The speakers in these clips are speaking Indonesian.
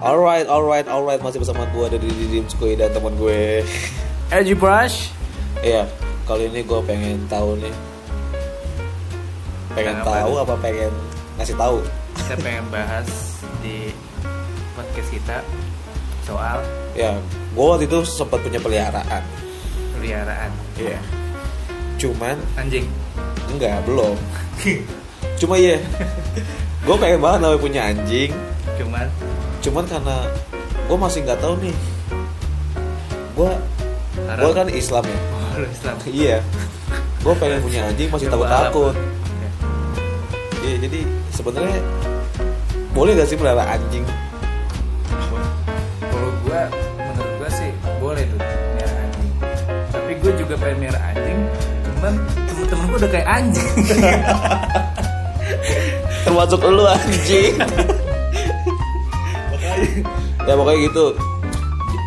Alright, alright, alright Masih bersama gue ada di Didim Skui dan teman gue Edgy Brush Iya, kali ini gue pengen tahu nih Pengen Pengen apa tahu apa pengen ngasih tahu Kita pengen bahas di podcast kita Soal Ya, gue waktu itu sempat punya peliharaan peliharaan Iya Cuman, Anjing enggak, belum Cuma iya Gue pengen banget namanya punya anjing Cuman Cuman karena gue masih nggak tahu nih Gue Haram. Gue kan Islam ya Oh, lu Islam Iya Gue pengen punya anjing masih Coba takut-takut alam. Iya, jadi sebenarnya boleh gak sih melihara anjing? Kalau gua, menurut gua sih boleh tuh Merah anjing Tapi gua juga pengen merah anjing Cuman temen-temen gua udah kayak anjing Termasuk lu anjing. ya pokoknya gitu.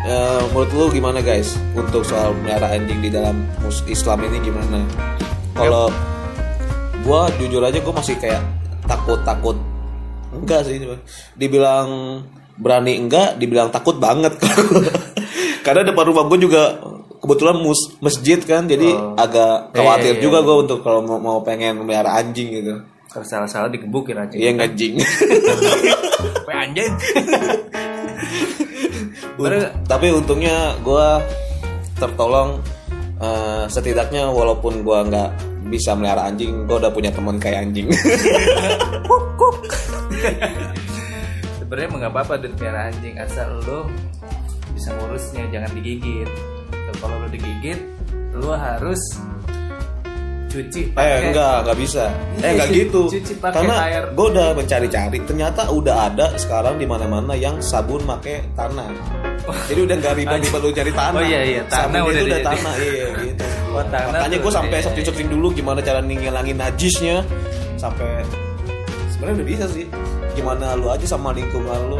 Eh, menurut lu gimana guys untuk soal melihara anjing di dalam mus- Islam ini gimana? Kalau gua jujur aja gua masih kayak takut-takut enggak sih cuma dibilang berani enggak dibilang takut banget karena depan rumah gue juga kebetulan mus- masjid kan jadi Oh. agak Iya, khawatir iya, juga gue untuk kalau mau, mau pengen melihara anjing gitu Kalau salah-salah dikebukin aja Iya anjing. Kayak anjing Unt- Tapi untungnya gue tertolong eh, setidaknya walaupun gue nggak bisa melihara anjing, gue udah punya teman kayak anjing. sebenarnya emang nggak apa-apa duit merah anjing asal lo bisa ngurusnya jangan digigit Tuh, kalau lo digigit lo harus eh cuci pakai enggak, nggak bisa. Iya, Eh enggak gitu. cuci pakai Karena air. gue udah mencari-cari, ternyata udah ada sekarang di mana-mana yang sabun pakai tanah. Jadi udah nggak ribet-ribet lu cari tanah. Oh, iya, iya, tanah Sabunnya udah itu udah jadi- tanah, iya gitu. Oh, tanah Makanya tuh iya. gue sampai udah- searching-searching dulu gimana cara ngilangin najisnya sampai sebenarnya udah bisa sih. Gimana lu aja sama lingkungan lu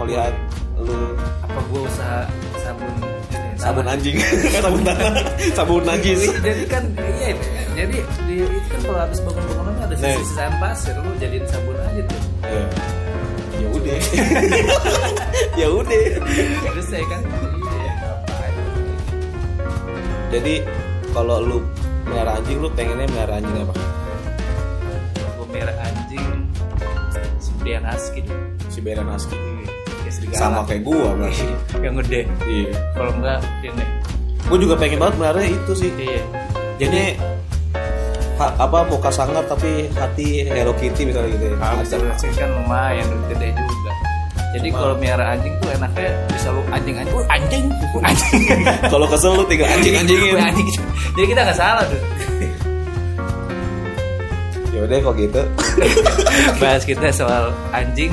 melihat lu apa gue usaha sabun ini, sabun tanah. anjing, sabun tanah, sabun najis. jadi kan iya itu kan. jadi di, itu kan kalau habis bangun bangunan ada Nih. sisi sisaan pasir lo jadiin sabun aja tuh Ya Ya udah. ya udah. terus saya kan iya ngapain Jadi kalau lu melihara anjing lu pengennya melihara anjing apa? gue merah anjing Siberian Husky deh. Siberian Husky. Kayak serigala. Sama kayak gua berarti. yang gede Iya. kalau enggak ini Gua juga pengen banget melihara itu sih. iya Jadi ha- apa muka sangar tapi hati Hello Kitty misalnya gitu. Ya. bisa bersih kan lumayan duit gede juga jadi Lumayan. kalau miara anjing tuh enaknya bisa lu anjing anjing uh, anjing uh, anjing Kalau kesel lu tinggal anjing-anjingin. Uh, anjing jadi kita nggak salah tuh Ya udah kok gitu. bahas kita soal anjing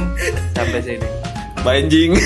sampai sini Bye anjing.